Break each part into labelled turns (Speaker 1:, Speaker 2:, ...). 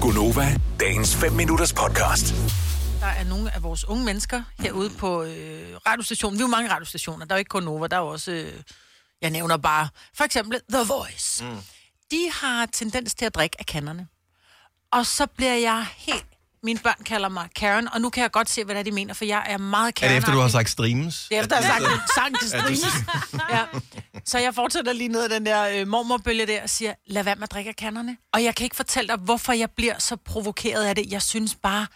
Speaker 1: Gunova, dagens 5 minutters podcast.
Speaker 2: Der er nogle af vores unge mennesker herude på øh, radiostationen. Vi er jo mange radiostationer. Der er jo ikke kun Nova, der er jo også... Øh, jeg nævner bare for eksempel The Voice. Mm. De har tendens til at drikke af kanderne. Og så bliver jeg helt... Mine børn kalder mig Karen, og nu kan jeg godt se, hvad det er, de mener, for jeg er meget
Speaker 3: Er
Speaker 2: Karen.
Speaker 3: det efter, du har sagt streams?
Speaker 2: Det er efter, jeg har sagt en sang til streams. ja. Så jeg fortsætter lige ned ad den der øh, mormorbølge der og siger, lad være med at drikke af kanderne. Og jeg kan ikke fortælle dig, hvorfor jeg bliver så provokeret af det. Jeg synes bare...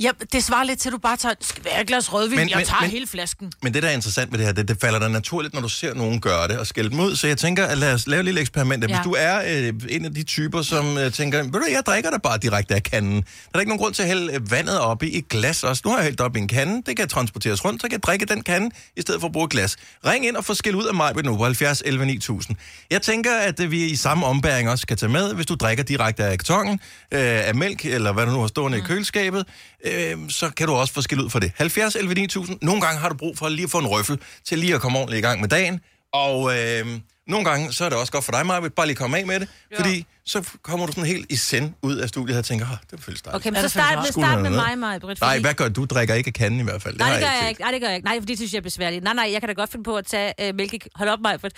Speaker 2: Ja, det svarer lidt til, at du bare tager skal være et glas rødvin. Men,
Speaker 3: Men-
Speaker 2: jeg
Speaker 3: men-
Speaker 2: tager men,
Speaker 3: men-
Speaker 2: hele flasken.
Speaker 3: Men det, der er interessant ved det her, det, det falder dig naturligt, når du ser nogen gøre det og skælde dem ud. Så jeg tænker, at lad os lave et lille eksperiment. Hvis
Speaker 2: Ja.
Speaker 3: du er øh, en af de typer, som øh, tænker, ved du, jeg drikker da bare direkte af kanden. Der er da ikke nogen grund til at hælde øh, vandet op i et glas også. Nu har jeg hældt op i en kande. Det kan transporteres rundt, så kan jeg drikke den kande, i stedet for at bruge et glas. Ring ind og få skæld ud af mig nu på 70 11 9000. Jeg tænker, at øh, vi i samme ombæring også skal tage med, hvis du drikker direkte af kartongen, øh, af mælk, eller hvad du nu har stående mm. i køleskabet, øh, så kan du også få skæld ud for det. 70 11 9000. Nogle gange har du brug for lige at få en røffel til lige at komme ordentligt i gang med dagen. Og øh, nogle gange, så er det også godt for dig, Maja, bare lige komme af med det. Ja. Fordi så f- kommer du sådan helt i send ud af studiet og tænker, oh, det føles dejligt.
Speaker 4: Okay, men
Speaker 2: Ja,
Speaker 4: så
Speaker 2: det føles
Speaker 4: start
Speaker 2: meget.
Speaker 4: med,
Speaker 3: Skulle
Speaker 4: start med
Speaker 3: have
Speaker 4: mig,
Speaker 3: noget.
Speaker 4: mig, Britt.
Speaker 3: Nej,
Speaker 4: fordi-
Speaker 3: hvad gør du? Du drikker ikke af kanden i hvert fald. Det
Speaker 4: Nej,
Speaker 3: har
Speaker 4: det gør jeg
Speaker 3: set.
Speaker 4: ikke. Nej, det gør jeg ikke. Nej, for det synes jeg er besværligt. Nej, nej, jeg kan da godt finde på at tage øh, mælke... Hold op, mig, for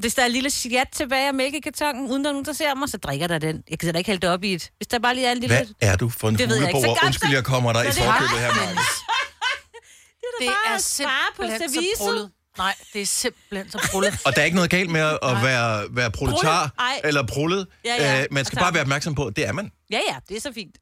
Speaker 4: hvis der er en lille sjat tilbage af mælkekartongen, uden der er nogen, der ser mig, så drikker der den. Jeg kan da ikke hælde det op i et. Hvis der bare lige er en lille...
Speaker 3: Hvad er du for en
Speaker 4: Det ved jeg ikke. Så
Speaker 3: huleboer?
Speaker 4: godt,
Speaker 3: Undskyld,
Speaker 4: så-
Speaker 3: jeg kommer dig i
Speaker 4: det er
Speaker 3: forkøbet her, Maja.
Speaker 4: Det er da bare at spare på servicet.
Speaker 2: brullet. Nej, det er simpelthen så brullet.
Speaker 3: Og der er ikke noget galt med at at være, være proletar
Speaker 4: Prullet? Ej.
Speaker 3: eller prullet.
Speaker 4: Ja, ja.
Speaker 3: Øh, man skal
Speaker 4: Og tak.
Speaker 3: bare være opmærksom på, at det er man.
Speaker 4: Ja, ja, det er så fint.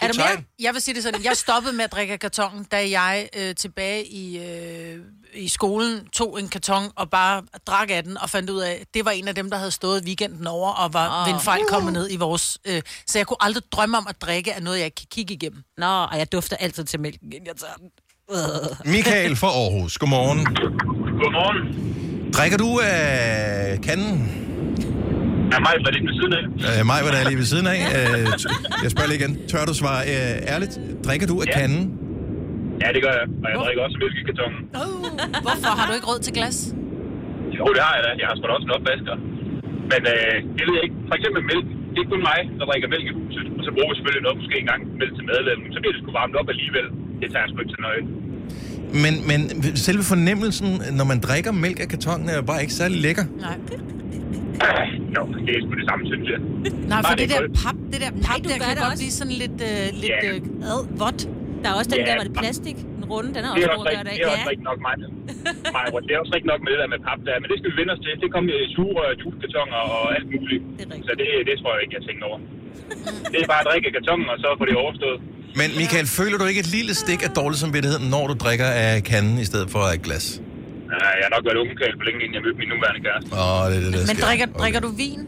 Speaker 2: Er der mere?
Speaker 3: tegn.
Speaker 2: Jeg vil sige det sådan. Jeg stoppede med at drikke af kartongen, da jeg øh, tilbage i, øh, i skolen tog en karton og bare drak af den og fandt ud af, at det var en af dem, der havde stået weekenden over og
Speaker 4: Ah.
Speaker 2: var oh. ved en fejl kommet ned i vores... Øh, så jeg kunne aldrig drømme om at drikke af noget, jeg ikke kan kigge igennem.
Speaker 4: Nå, og jeg dufter altid til mælken, inden jeg tager den. Øh.
Speaker 3: Michael fra Aarhus, godmorgen.
Speaker 5: Godmorgen.
Speaker 3: Drikker du af kanden?
Speaker 5: Er mig var lidt ved siden af?
Speaker 3: Øh, mig var der lige ved siden af. Øh, t- jeg spørger lige igen. Tør du svare øh, ærligt? Drikker du af
Speaker 5: Ja.
Speaker 3: kanden?
Speaker 5: Ja, det gør jeg. Og jeg drikker også mælk i kartongen.
Speaker 4: Oh.
Speaker 2: Hvorfor har du ikke råd til glas?
Speaker 5: Jo, det har jeg da. Jeg har sgu da også en opvasker. Men øh, det ved jeg ikke. For eksempel mælk. Det er kun mig, der drikker mælk i huset. Og så bruger vi selvfølgelig noget, måske engang mælk til medlemmen. Så bliver det sgu varmt op alligevel. Det tager jeg sgu ikke så nøje.
Speaker 3: Men, men selve fornemmelsen, når man drikker mælk af kartongen, er jo bare ikke særlig lækker.
Speaker 2: Nej.
Speaker 5: Ah, jo, det er sgu det samme, synes jeg.
Speaker 2: Nej, for det
Speaker 5: Nej, det
Speaker 2: der
Speaker 5: er godt.
Speaker 2: pap, det der pap,
Speaker 4: du
Speaker 2: der
Speaker 4: gør
Speaker 2: kan
Speaker 4: det
Speaker 2: godt
Speaker 4: også.
Speaker 2: blive sådan lidt, øh, lidt
Speaker 5: Ja.
Speaker 2: øh, ad, vådt.
Speaker 4: Der er også den
Speaker 5: Ja.
Speaker 4: der, var det plastik? Den runde, den er
Speaker 5: Det
Speaker 4: også
Speaker 5: er
Speaker 4: god
Speaker 5: også,
Speaker 4: at gøre det
Speaker 5: rigtig,
Speaker 4: af.
Speaker 5: det er også rigtig nok mig. Maja, det er også rigtig nok med det der med pap der. Men det skal vi vende os til. Det kommer i sugerør, juicekartoner og alt muligt.
Speaker 4: Det er rigtigt.
Speaker 5: så det, det tror jeg ikke, jeg tænker over. Det er bare at drikke af kartongen, og så får det overstået.
Speaker 3: Men Michael, føler du ikke et lille stik af dårlig samvittighed, når du drikker af kanden i stedet for af et glas?
Speaker 5: Ja, jeg har nok været ungekald for længe, inden jeg mødte min nuværende kæreste.
Speaker 3: Åh, det er det, der
Speaker 2: Men
Speaker 3: sker.
Speaker 2: drikker,
Speaker 3: Okay.
Speaker 2: drikker du vin?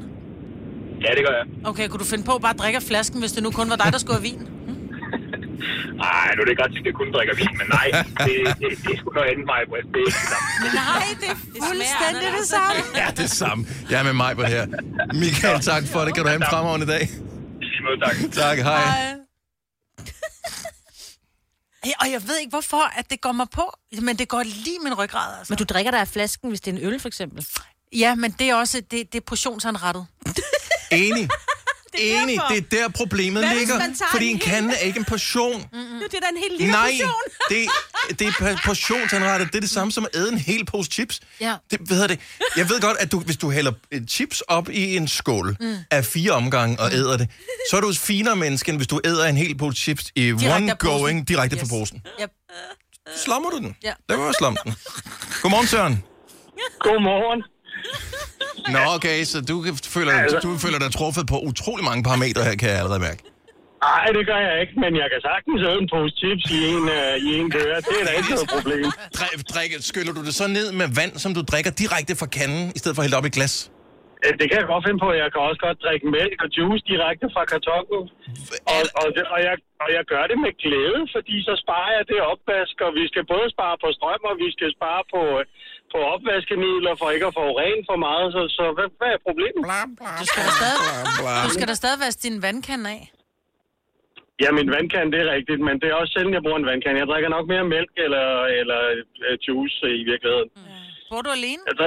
Speaker 5: Ja, det gør jeg.
Speaker 2: Okay, kunne du finde på at bare drikke af flasken, hvis det nu kun var dig, der skulle have vin?
Speaker 5: Nej, nu er det godt, at jeg kun drikker vin, men nej, det, det, det er sgu noget andet mig, Britt. Det er ikke det samme.
Speaker 2: Nej, det er
Speaker 4: fuldstændig det
Speaker 2: samme.
Speaker 3: Ja, det samme. Jeg er med mig på det her. Michael, tak for det. Kan du have en fremragende dag?
Speaker 5: I lige måde, tak.
Speaker 3: Tak, hej.
Speaker 2: Ja, og jeg ved ikke, hvorfor at det går mig på, men det går lige min ryggrad, altså.
Speaker 4: Men du drikker der af flasken, hvis det er en øl, for eksempel.
Speaker 2: Ja, men det er også det, det er portionsanrettet.
Speaker 3: Enig.
Speaker 4: er
Speaker 3: Enig,
Speaker 4: derfor.
Speaker 3: det er der problemet
Speaker 4: Hvad hvis
Speaker 3: ligger.
Speaker 4: man tager
Speaker 3: Fordi
Speaker 4: den
Speaker 3: en
Speaker 4: hele?
Speaker 3: kande er ikke en portion.
Speaker 4: Mm. Det er da en helt lille
Speaker 3: Nej,
Speaker 4: portion.
Speaker 3: det, det er per- portionsanrettet. Det er det samme som at æde en hel pose chips.
Speaker 2: Ja.
Speaker 3: Det, hvad hedder det? Jeg ved godt, at du, hvis du hælder øh, chips op i en skål mm. af fire omgange og æder det, så er du et finere menneske, end hvis du æder en hel pose chips i one
Speaker 2: af posen.
Speaker 3: going direkte yes. fra posen.
Speaker 2: Yep.
Speaker 3: Slummer du den?
Speaker 2: Ja.
Speaker 3: Lad mig slamme den. Godmorgen, Søren.
Speaker 6: Godmorgen.
Speaker 3: Nå, okay, så du kan- føler, du føler dig truffet på utrolig mange parametre her, kan jeg allerede mærke.
Speaker 6: Nej, det gør jeg ikke, men jeg kan sagtens æde en pose chips i en, øh, i en køre. Det er da ikke noget problem.
Speaker 3: Dri- drikke, skyller du det så ned med vand, som du drikker direkte fra kanden, i stedet for at hælde op i et glas?
Speaker 6: Øh, Det kan jeg godt finde på. Jeg kan også godt drikke mælk og juice direkte fra kartongen. Og, og, det- og, jeg, og jeg gør det med glæde, fordi så sparer jeg det opvask, og vi skal både spare på strøm, og vi skal spare på, øh, på opvaskemidler for ikke at forurene for meget. Så, så hvad, hvad er problemet?
Speaker 2: Du skal da stadig, du skal da stadig vaske din vandkande af.
Speaker 6: Ja, min vandkan, det er rigtigt, men det er også sjældent, jeg bruger en vandkan. Jeg drikker nok mere mælk eller, eller øh, juice øh, i virkeligheden.
Speaker 2: Bor du alene?
Speaker 6: Altså,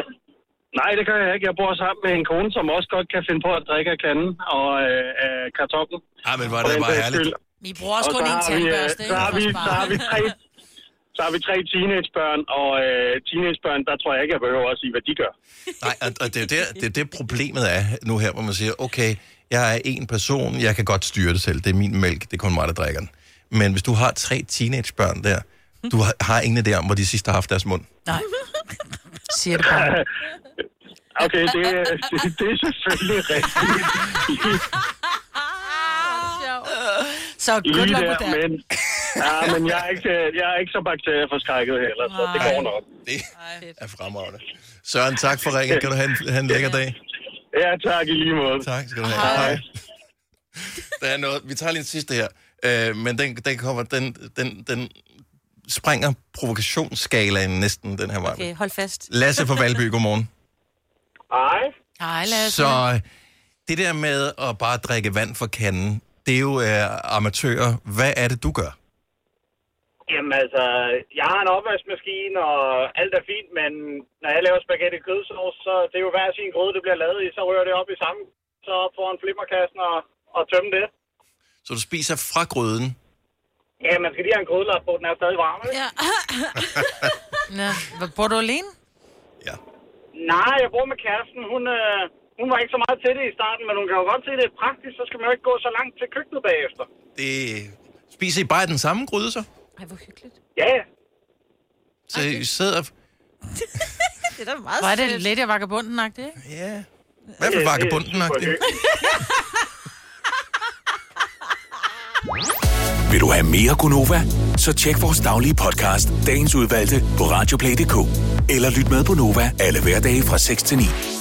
Speaker 6: nej, det gør jeg ikke. Jeg bor sammen med en kone, som også godt kan finde på at drikke af kanden og øh, af kartoflen.
Speaker 3: Ah, men var
Speaker 6: For
Speaker 3: det
Speaker 6: den
Speaker 3: bare
Speaker 6: sags
Speaker 3: herligt.
Speaker 6: skyld.
Speaker 2: Vi bruger også
Speaker 6: Og
Speaker 2: kun
Speaker 6: så
Speaker 2: en
Speaker 6: har vi, øh,
Speaker 2: tandbørste, ikke?
Speaker 6: Så har vi,
Speaker 2: For at
Speaker 6: så
Speaker 2: spare.
Speaker 6: har vi tre så har vi tre teenagebørn, og øh, teenagebørn, der tror jeg ikke, jeg behøver at sige, hvad de gør.
Speaker 3: Nej, og, og det, er der, det er det, problemet er nu her, hvor man siger, okay, jeg er en person, jeg kan godt styre det selv. Det er min mælk, det er kun mig, der drikker den. Men hvis du har tre teenagebørn der, du har, har ingen idé om, hvor de sidste har haft deres mund.
Speaker 2: Nej. Siger det bare.
Speaker 6: Okay, det, øh, det, det er selvfølgelig rigtigt
Speaker 2: Så good
Speaker 6: lige
Speaker 2: luck
Speaker 6: der,
Speaker 2: med det.
Speaker 6: men, ja, men jeg, er ikke, øh, jeg er ikke så bakterieforskrækket heller, så det
Speaker 2: Nej.
Speaker 6: går nok.
Speaker 3: Det er fremragende. Søren, tak for ringen. Kan du have en, have en lækker dag?
Speaker 6: Ja, tak i lige måde.
Speaker 3: Tak skal du have. Hej. Der er noget, vi tager lige en sidste her, øh, men den, den kommer, den, den, den springer provokationsskalaen næsten den her vej. Okay.
Speaker 4: Okay, hold fast.
Speaker 3: Lasse fra Valby, godmorgen.
Speaker 6: Hej.
Speaker 2: Hej, Lasse.
Speaker 3: Så øh, det der med at bare drikke vand fra kanden, det er jo øh, amatører. Hvad er det, du gør?
Speaker 6: Jamen altså, jeg har en opvaskemaskine, og alt er fint, men når jeg laver spaghetti kødsovs, så det er jo hver sin gryde, det bliver lavet i, så rører det op i samme, så op foran flimmerkassen og, og tømme det.
Speaker 3: Så du spiser fra gryden.
Speaker 6: Ja, man skal lige have en grydelap på, den er stadig varm, ikke?
Speaker 4: Ja.
Speaker 2: Ja. Hvad, Bor du alene?
Speaker 3: Ja.
Speaker 6: Nej, jeg bor med kæresten. Hun, øh, hun var ikke så meget til det i starten, men hun kan jo godt se, det er praktisk, så skal man jo ikke gå så langt til køkkenet bagefter.
Speaker 3: Det, spiser I bare i den samme gryde, så?
Speaker 4: Ej, hvor hyggeligt.
Speaker 6: Ja,
Speaker 3: Så I sidder...
Speaker 4: Det er da meget
Speaker 2: Var det lidt, jeg vakker bunden ikke?
Speaker 3: Ja. Hvad for vagabunden? agtigt?
Speaker 1: Vil du have mere Gunova? Så tjek vores daglige podcast, dagens udvalgte, på radioplay.dk. Eller lyt med på Nova alle hverdage fra 6 til 9.